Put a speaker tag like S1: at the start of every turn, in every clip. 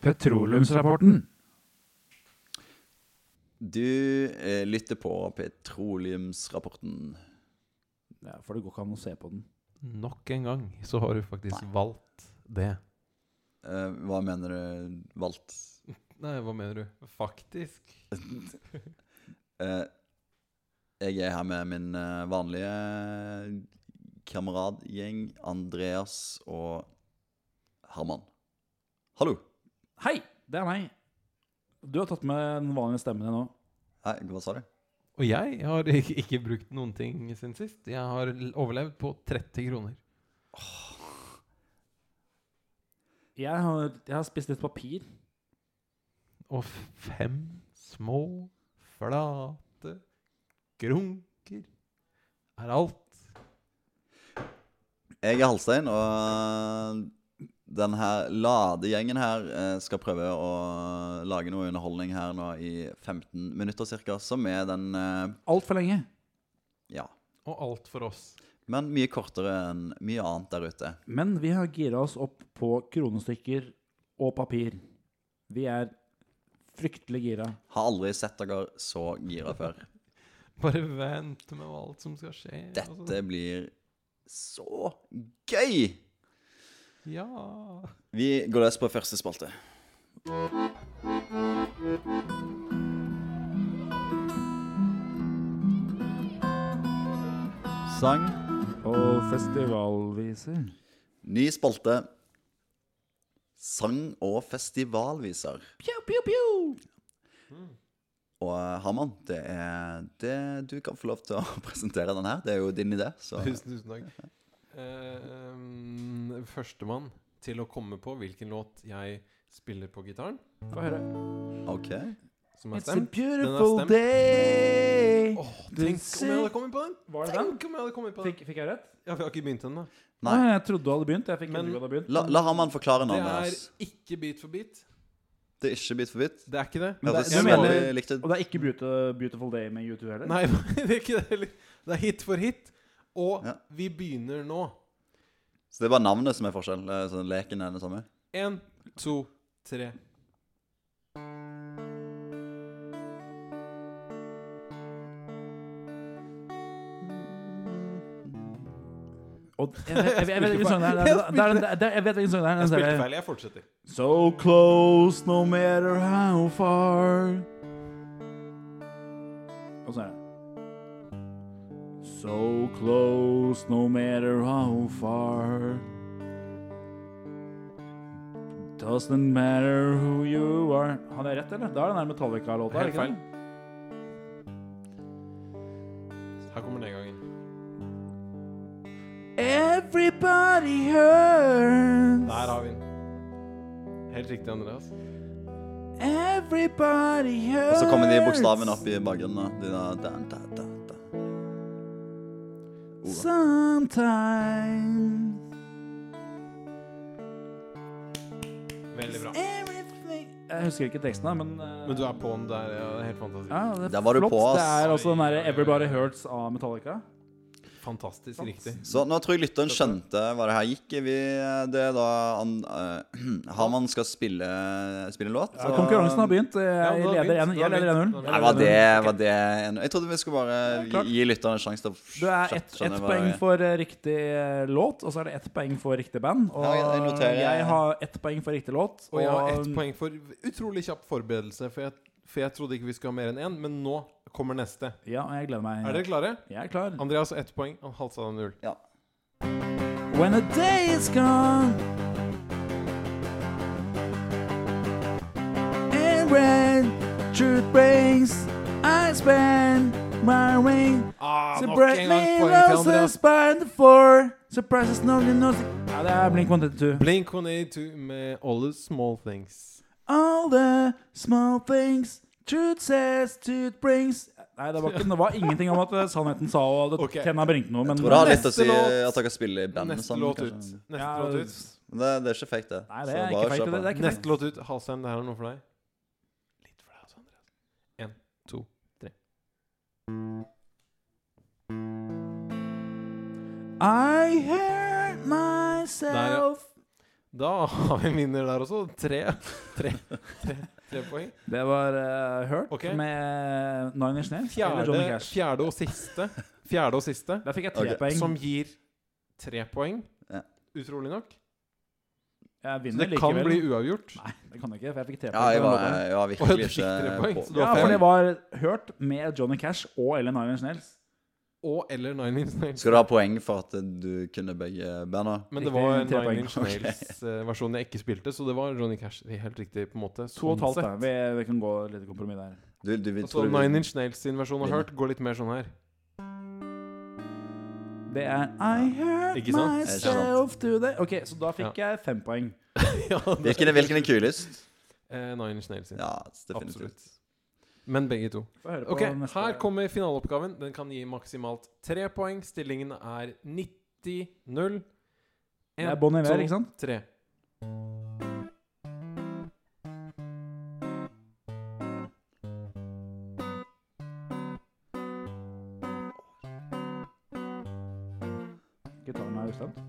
S1: Petroleumsrapporten.
S2: Du eh, lytter på Petroleumsrapporten.
S1: Ja, for det går ikke an å se på den.
S3: Nok en gang så har du faktisk valgt det.
S2: Eh, hva mener du valgt?
S3: Nei, hva mener du? Faktisk.
S2: Eh, jeg er her med min eh, vanlige eh, kameradgjeng, Andreas og Herman. Hallo.
S1: Hei, det er meg. Du har tatt med den vanlige stemmen din nå.
S2: Hei, hva sa du?
S3: Og jeg har ikke, ikke brukt noen ting siden sist. Jeg har l- overlevd på 30 kroner.
S1: Jeg har, jeg har spist litt papir.
S3: Og f- fem små, flate grunker er alt.
S2: Jeg er Halstein, og den her ladegjengen her eh, skal prøve å lage noe underholdning her nå i 15 minutter cirka, som er den eh,
S1: Altfor lenge.
S2: Ja.
S3: Og alt for oss.
S2: Men mye kortere enn mye annet der ute.
S1: Men vi har gira oss opp på kronestykker og papir. Vi er fryktelig gira.
S2: Har aldri sett dere så gira før.
S3: Bare vent med alt som skal skje. og så-
S2: Dette blir så gøy!
S3: Ja.
S2: Vi går løs på første spalte. Sang.
S1: Og festivalviser.
S2: Ny spalte. Sang- og festivalviser.
S1: Pew, pew, pew.
S2: Og eh, Herman, det er det du kan få lov til å presentere den her. Det er jo din idé. Så.
S3: Tusen, tusen takk. Eh, um, Førstemann til å komme på hvilken låt jeg spiller på gitaren,
S1: Få høre.
S2: OK.
S3: som er
S1: It's a
S3: stemt.
S1: beautiful
S3: stemt.
S1: day.
S3: Åh, tenk om jeg hadde kommet på den!
S1: Var det den?
S3: Tenk om jeg hadde kommet på den!
S1: Fikk, fikk jeg rett?
S3: Ja, vi har ikke begynt ennå.
S2: Nei.
S1: Nei, jeg trodde du hadde begynt. Jeg fikk
S3: Men-
S1: inntrykk av at du hadde begynt.
S2: La, la Herman forklare
S3: Det
S2: navnet
S3: er
S2: hans.
S3: ikke Beat for beat.
S2: Det er ikke bit for bit.
S3: Det er ikke det.
S1: Men det-
S2: Høres
S1: jeg
S2: veldig
S1: mener-
S2: likt ut.
S1: Og det er ikke beauti- 'Beautiful Day' med U2 heller?
S3: Nei, det er ikke det heller. Det er hit for hit. Og
S2: Ja.
S3: vi begynner nå.
S2: Så det er bare navnet som er forskjell. eh, Så leken er den samme.
S3: Én, to, tre.
S1: Og jeg, jeg, jeg, jeg vet hvilken sang det er. Det er- det er- det er- det er- Jeg vet hvilken sang det er.
S3: Jeg
S1: Den
S3: spilte
S1: der-
S3: feil. Jeg fortsetter.
S1: So close no matter how far Og så er det So close no matter how far Doesn't matter who you are Hadde jeg rett, eller? Da er den der Metallica-låta. er det
S3: Helt
S1: ikke
S3: feil.
S1: det?
S3: Her kommer nedgangen.
S1: Everybody hurts
S3: Der har vi den. Helt riktig, Andreas.
S1: Everybody
S2: Og
S1: hurts
S2: så kommer de bokstavene opp i bakgrunnen. da. De der, da, da, da, da. Ordet.
S1: Sometimes
S3: Veldig bra.
S1: Everything Jeg husker ikke teksten, da, men eh,
S3: Men du er på'n der. Ja, det er helt fantastisk.
S1: ja, det er
S2: Der var du
S1: flott.
S2: på, ass.
S1: Det er altså den derre 'Everybody Hurts' av Metallica.
S3: Fantastisk riktig.
S2: Så nå tror jeg lytteren skjønte hva det her gikk i. Vi, det er da han, eh, Herman skal spille, spille en låt. så-
S1: konkurransen har begynt. Eh,
S3: Ja,
S1: Jeg leder
S3: den har begynt.
S1: 1-0. Jeg
S3: Den har
S1: leder
S3: begynt.
S1: 1-0.
S3: Den
S2: Nei,
S3: har
S2: var det, var det en, Jeg trodde vi skulle bare gi, gi lytteren en sjanse til å sånn
S1: Du er ett ett
S2: skjønne hva-
S1: poeng for eh, riktig eh, låt, og så er det ett poeng for riktig band. Og
S2: Ja, jeg- jeg noterer-
S1: jeg har ett poeng for riktig låt.
S3: Og jeg har ett poeng for utrolig kjapp forberedelse, for jeg, for jeg trodde ikke vi skulle ha mer enn én, men nå kommer neste.
S1: Ja, jeg gleder meg.
S3: Er dere klare?
S1: Jeg er klar.
S3: Andreas ett poeng, han halsa den null.
S2: Ja.
S1: When the day is gone And when truth brings I spend my ring
S3: Ah,
S1: To
S3: nok
S1: break
S3: en gang
S1: me
S3: poeng til
S1: roses
S3: Andreas.
S1: by the floor Surprises no one knows Ja, det er Blink-182
S3: Blink 182 med All the Small Things.
S1: All the small things Truth says, truth brings Nei, det var, ikke, det var ingenting om at eh, sannheten sa Og at
S3: Ok.
S1: okay. Kenna bringte noe men,
S2: Tror det har litt å
S3: Neste
S2: si
S3: låt.
S2: at dere spiller i band
S3: Neste
S2: sammen,
S3: låt ut.
S2: kanskje.
S3: Neste
S1: Ja,
S3: låt ut.
S2: Men Det, det er ikke fake, det.
S1: Nei,
S2: Så
S1: det er
S2: bare
S1: ikke feil
S2: kjør
S1: det,
S2: på.
S1: det er ikke feil.
S3: Neste låt ut. Halstein, det her er noe for deg. Litt for deg også, Andreas. Én, to, tre.
S1: I hear myself
S3: Da har vi en vinner der også. Tre, tre, tre, tre poeng.
S1: Det var eh, Hurt
S3: Ok.
S1: med Nine Inch Nails eller Johnny
S3: Fjerde,
S1: Cash.
S3: fjerde og siste. Fjerde og siste,
S1: Der fikk jeg tre
S2: Ok,
S1: poeng.
S3: som gir tre poeng.
S2: Ja.
S3: Utrolig nok.
S1: jeg
S3: Så
S1: vinner
S3: det kan
S1: likevel.
S3: bli uavgjort.
S1: Nei, det kan jeg ikke, for jeg fikk tre
S2: Ja,
S1: poeng.
S2: jeg
S1: på den
S2: var,
S1: låten.
S2: jeg var
S3: Å, du
S2: virkelig
S3: fikk tre poeng,
S2: ikke
S3: så du
S2: på.
S1: ja,
S3: har
S1: for
S3: fem.
S1: det var Hurt med Johnny Cash og eller Nine Inch Nails.
S3: Og eller Nine Inch Nails.
S2: Skal du ha poeng for at du kunne begge banda?
S3: Men det
S1: Riktig,
S3: var
S1: tre poeng.
S3: Nine Inch Nails-versjonen jeg ikke spilte, så det var Johnny Cash. Helt riktig, på en måte. sånn
S1: To og et halvt,
S3: sett.
S1: da. Vi, vi kan gå litt kompromiss der.
S2: Du, du, vil-
S3: Altså
S2: tror du vil-
S3: Nine Inch Nails sin versjon av Hurt går litt mer sånn her.
S1: Det er I heard
S3: Ikke
S2: Ikke
S3: sant?
S2: sant.
S1: myself do that Ok, så da fikk jeg fem poeng.
S3: ja, det-
S2: Hvilken, er- hvilken er kulest?
S3: eh, Nine Inch Nails sin.
S2: Ja, definitivt.
S3: Absolutt. Men begge to.
S1: Få høre på
S3: Ok,
S1: neste.
S3: Her kommer finaleoppgaven. Den kan gi maksimalt tre poeng. Stillingen er
S1: Det
S3: 90-0.
S1: er Bon Iver, ikke sant?
S3: Tre.
S1: Gitaren er uslemt.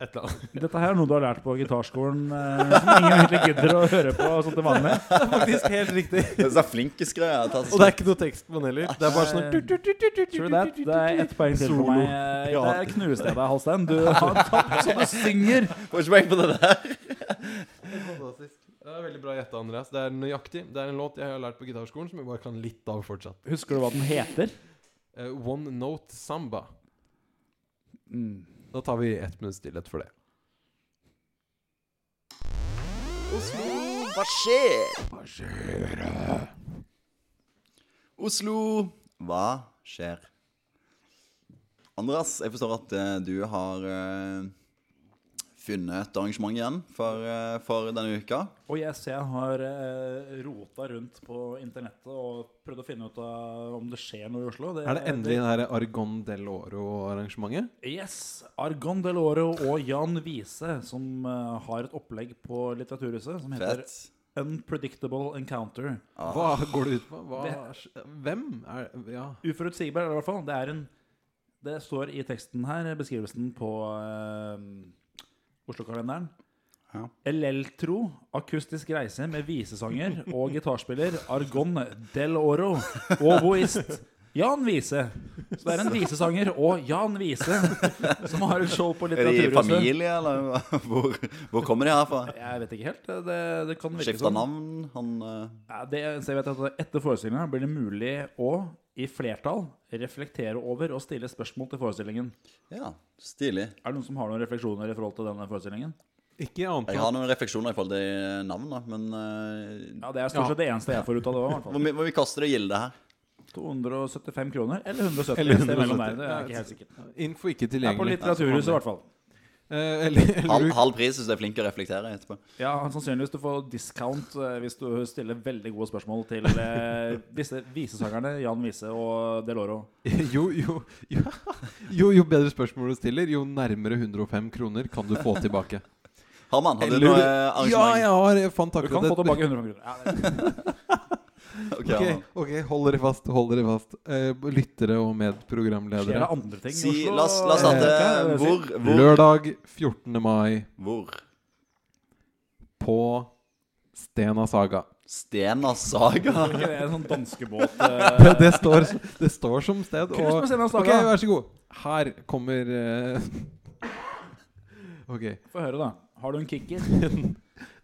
S3: Et eller annet.
S1: Dette her er noe du har lært på gitarskolen, eh, som ingen egentlig gidder å høre på sånn til vanlig.
S3: Det er faktisk helt riktig.
S2: Det er så flinke skreier.
S3: Og det er ikke noe tekst på den heller. Det er bare sånn
S1: Nei. True that. Det er ett poeng til for
S3: Solo.
S1: meg. Eh, Der knuste jeg deg, Halstein. Du har tapt så du synger.
S2: Får ikke poeng på det der.
S3: Det er veldig bra gjetta, Andreas. Det er nøyaktig. Det er en låt jeg har lært på gitarskolen som jeg bare kan litt av fortsatt.
S1: Husker du hva den heter?
S3: Eh, one Note Samba.
S1: Mm.
S3: Da tar vi ett minutts stillhet for det.
S2: Hva skjer? Hva skjer? Oslo, hva skjer? Andreas, jeg forstår at eh, du har eh, funnet et arrangement igjen for, eh, for denne uka.
S1: Og jeg ser jeg har eh, rota rundt på internettet og prøvd å finne ut av om det skjer noe i Oslo.
S3: Er det endelig det her Argon del Oro-arrangementet?
S1: Yes. Argon Del Oro og Jan Wiese, som eh, har et opplegg på Litteraturhuset som heter
S2: Fett.
S1: Unpredictable Encounter.
S3: Hva går det ut på? Hva, Ah. hvem? Er, ja.
S1: Uforutsigbar, i hvert fall. Det er en Det står i teksten her, beskrivelsen på eh, Oslo-kalenderen.
S2: Ja.
S1: Eleltro, akustisk reise med visesanger og gitarspiller Argon Del Oro og voist Jan Wiese. Så det er en visesanger og Jan Wiese som har et show på
S2: Er de i
S1: Litteraturhuset.
S2: familie, eller hva- hvor, hvor kommer de her fra?
S1: Jeg vet ikke helt. Det, det kan virke
S2: Skifta
S1: sånn.
S2: navn? Han eh,
S1: Ja, det, så jeg vet at Etter forestillinga blir det mulig å, i flertall, reflektere over og stille spørsmål til forestillingen.
S2: Ja, stilig.
S1: Er det noen som har noen refleksjoner i forhold til denne forestillingen?
S3: Ikke annet
S2: Jeg har noen refleksjoner i forhold til navnet, men eh,
S1: Ja, Det er stort sett det eneste jeg får ut av det. Også, i hvert
S2: hvor, mye- hvor mye koster det gilde her?
S1: fall. 275 kroner, eller 170.
S3: Eller
S1: et sted mellom
S3: 170.
S1: der, det er jeg ikke helt sikkert.
S3: Info ikke
S1: Det er på
S3: tilgjengelig.
S1: Litteraturhuset, i hvert fall.
S3: Eh, eller, eller,
S2: Halv, halv pris hvis du er flink til å reflektere etterpå.
S1: Ja, Sannsynligvis du får discount eh, hvis du stiller veldig gode spørsmål til eh, disse visesangerne, Jan Wiese og Deloro.
S3: jo, jo, jo, jo, jo bedre spørsmål du stiller, jo nærmere 105 kroner kan du få tilbake.
S2: Herman, har du
S3: Eller-
S2: noe eh,
S3: Ja,
S2: arrangement?
S3: jeg har jeg fant
S1: Du kan få
S3: akkurat
S1: tilbake 105 kroner. Ja, det-
S2: Ok,
S3: Ok,
S2: Herman.
S3: ok, hold dere fast. Hold dere fast. Eh, lyttere og
S1: skjer
S3: medprogramledere.
S1: det andre ting i
S2: Si,
S1: Oslo?
S2: la oss, la oss starte.
S1: Eh, hva er det jeg sier?
S2: Hvor, hvor,
S3: Lørdag 14. mai
S2: hvor?
S3: på Stena Saga.
S2: Stena Saga?
S1: Er ikke det en sånn danskebåt
S3: Det,
S1: eh,
S3: det, står, det står som sted.
S1: Cruise
S3: Og,
S1: med Stena Saga.
S3: ok, vær så god. Her kommer eh, Ok,
S1: Få høre, da. Har du en kicker?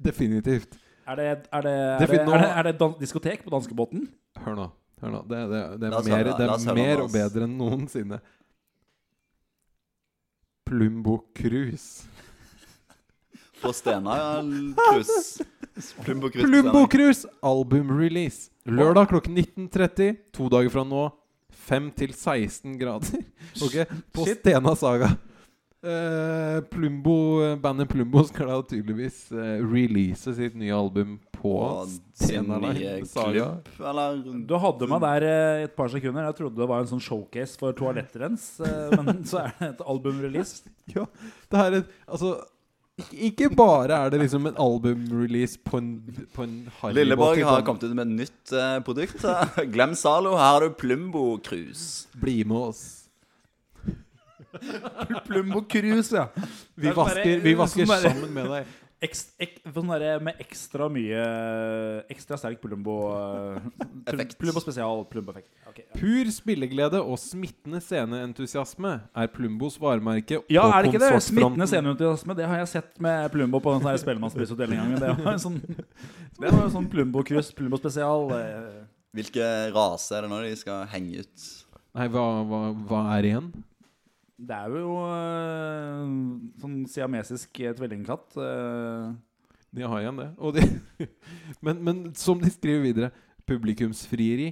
S3: definitivt.
S1: Er det, er det, er
S3: Det
S1: det,
S3: fin- nå-
S1: er det, er det dan diskotek på danskebåten?
S3: Hør nå. Hør nå. Det, det, det
S2: La oss
S3: er mer,
S2: høre,
S3: det
S2: la oss
S3: er
S2: høre,
S3: mer
S2: la
S3: og
S2: oss.
S3: bedre enn noensinne. Plumbo Cruise.
S2: På Stena Krus. Plumbo Krus.
S3: Plumbo Cruise albumrelease. Lørdag klokken 19.30, to dager fra nå. 5 til 16 grader. Ok, På Stena Saga. Eh, Plumbo, bandet Plumbo skal da tydeligvis eh, release sitt nye album på
S2: Og sin
S3: Stena
S2: nye
S3: Line Saga.
S2: klubb, eller
S1: Du hadde meg der eh, et par sekunder. Jeg trodde det var en sånn showcase for toalettrens, eh, men så er det et albumrelease.
S3: Ja, det her er altså Ikke, ikke bare er det liksom en albumrelease på en, på en Harry
S2: Lilleborg
S3: Potter,
S2: har
S3: men
S2: kommet ut med et nytt eh, produkt. Glem Zalo, her har du Plumbo Cruise.
S3: Bli med oss.
S1: Plumbo Cruise, ja.
S3: Vi
S1: Det er bare-
S3: vasker, vi vasker
S1: sånn der-
S3: sammen med deg.
S1: Ekst, ek, sånn derre med ekstra mye Ekstra sterk Plumbo eh, pl-
S2: Effekt.
S1: Plumbo spesial, Plumbo-effekt. Ok, ja.
S3: Pur spilleglede og smittende sceneentusiasme er Plumbos varemerke
S1: Ja,
S3: på
S1: er det ikke det?
S3: konsertfronten.
S1: Smittende sceneentusiasme. Det har jeg sett med Plumbo på den Spellemannspris den gangen. Det var en sånn, det var en sånn Plumbo-krus, Plumbo-spesial. eh.
S2: Hvilke rase er det nå de skal henge ut?
S3: Nei, hva, hva, hva er igjen?
S1: Det er jo eh, sånn siamesisk eh, tvillingkatt. eh.
S3: De har igjen det. Og de men, men som de skriver videre Publikumsfrieri,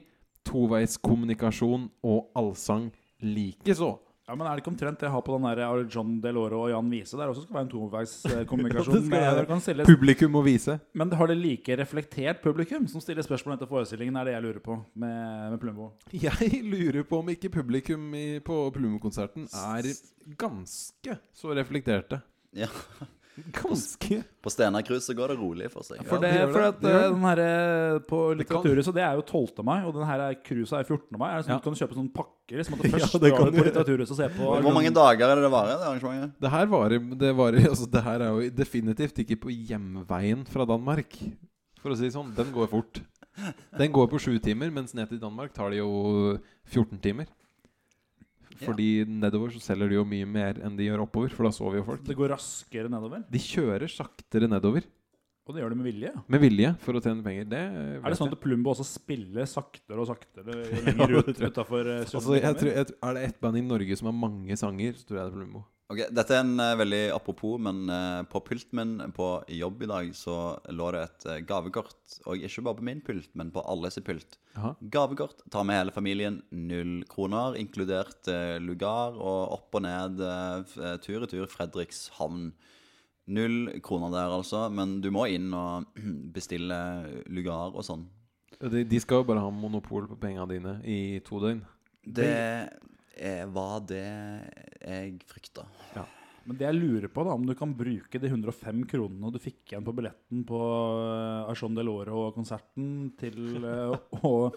S3: toveiskommunikasjon og allsang likeså.
S1: Ja, men Er det ikke omtrent det jeg har på den der av John Deloro og Jan Wiese? Der også skal være en
S3: Ja, det
S1: toveiskommunikasjon.
S3: skal jeg. Publikum må vise.
S1: men har det like reflektert publikum som stiller spørsmål etter forestillingen? er det jeg lurer på med, med Plumbo.
S3: Jeg lurer på om ikke publikum i, på Plumbo-konserten er ganske så reflekterte.
S2: Ja.
S3: Ganske.
S2: På Stena Cruise så går det rolig for seg.
S3: Ja,
S1: For,
S3: det
S1: det,
S3: gjør det.
S1: for at
S3: Det gjør
S1: eh,
S3: det.
S1: den her eh, På
S3: Det kan-
S1: Litteraturhuset det er jo 12. mai, og den her er- cruisa er 14. mai. Er det sånn
S3: Ja.
S1: at Du kan kjøpe sånne pakker som at
S3: Ja,
S1: du først
S3: det
S1: drar
S3: kan
S1: du
S3: du
S1: på
S3: gjøre.
S1: Litteraturhuset og ser på
S2: Hvor mange dager er det det varer, det arrangementet?
S3: Det her varer, det varer altså, Det her er jo definitivt ikke på hjemveien fra Danmark. For å si det sånn. Den går fort. Den går på sju timer, mens ned til Danmark tar det jo 14 timer. Fordi nedover så selger de jo mye mer enn de gjør oppover, for da sover jo folk.
S1: Det går raskere nedover.
S3: De kjører saktere nedover,
S1: Og det gjør det med vilje.
S3: med vilje, for å tjene penger. Det
S1: Er det sånn at Plumbo også spiller saktere og saktere jo lenger
S3: Ja,
S1: ut,
S3: det tror jeg.
S1: utenfor, eh,
S3: altså, jeg
S1: Sundbyholmen?
S3: tror, jeg, tror- Er det ett band i Norge som har mange sanger, så tror jeg det er Plumbo.
S2: Ok, Dette er en eh, veldig apropos, men eh, på pulten min på jobb i dag så lå det et eh, gavekort. Og ikke bare på min pult, men på alle sin pult.
S3: Jaha.
S2: Gavekort tar med hele familien null kroner, inkludert eh, lugar og opp og ned eh, f- eh, tur i tur Fredrikshavn. Null kroner der, altså, men du må inn og bestille lugar og sånn.
S3: De, de skal jo bare ha monopol på penga dine i to døgn.
S2: Det eh, var det jeg frykta.
S1: Men det jeg lurer på, da, om du kan bruke de 105 kronene du fikk igjen på billetten på eh, Archon del Oro-konserten, til, eh, å-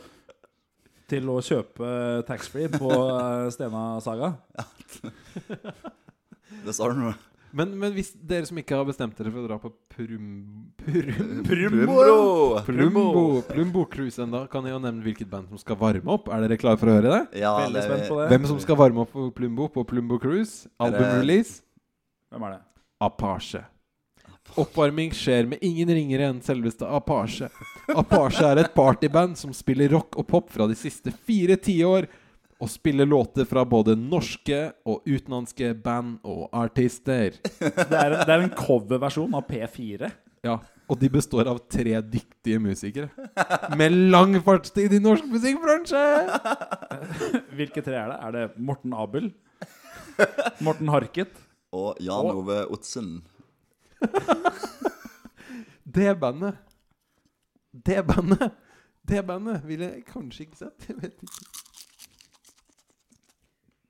S1: til å kjøpe taxfree på eh, Stena Saga.
S2: Det sa du noe.
S3: Men, men hvis dere som ikke har bestemt dere for å dra på prum, prum,
S2: Plumbo!
S3: Plumbo Plumbo Cruise enda kan jeg jo nevne hvilket band som skal varme opp. Er dere klare for å høre det?
S2: Ja,
S1: Veldig
S2: det-
S1: spent på det.
S3: Hvem som skal varme opp på Plumbo på Plumbo Cruise? Albumrelease?
S1: Hvem er det?
S3: Apache. Oppvarming skjer med ingen ringere enn selveste Apache. Apache er et partyband som spiller rock og pop fra de siste fire tiår, og spiller låter fra både norske og utenlandske band og artister.
S1: Det er, det er en coverversjon av P4.
S3: Ja, og de består av tre dyktige musikere. Med lang fartstid i norsk musikkbransje!
S1: Hvilke tre er det? Er det Morten Abel? Morten Harket?
S2: Og Jan Ove Otsen.
S3: Det bandet Det bandet Det bandet ville jeg kanskje ikke sett. Jeg vet ikke.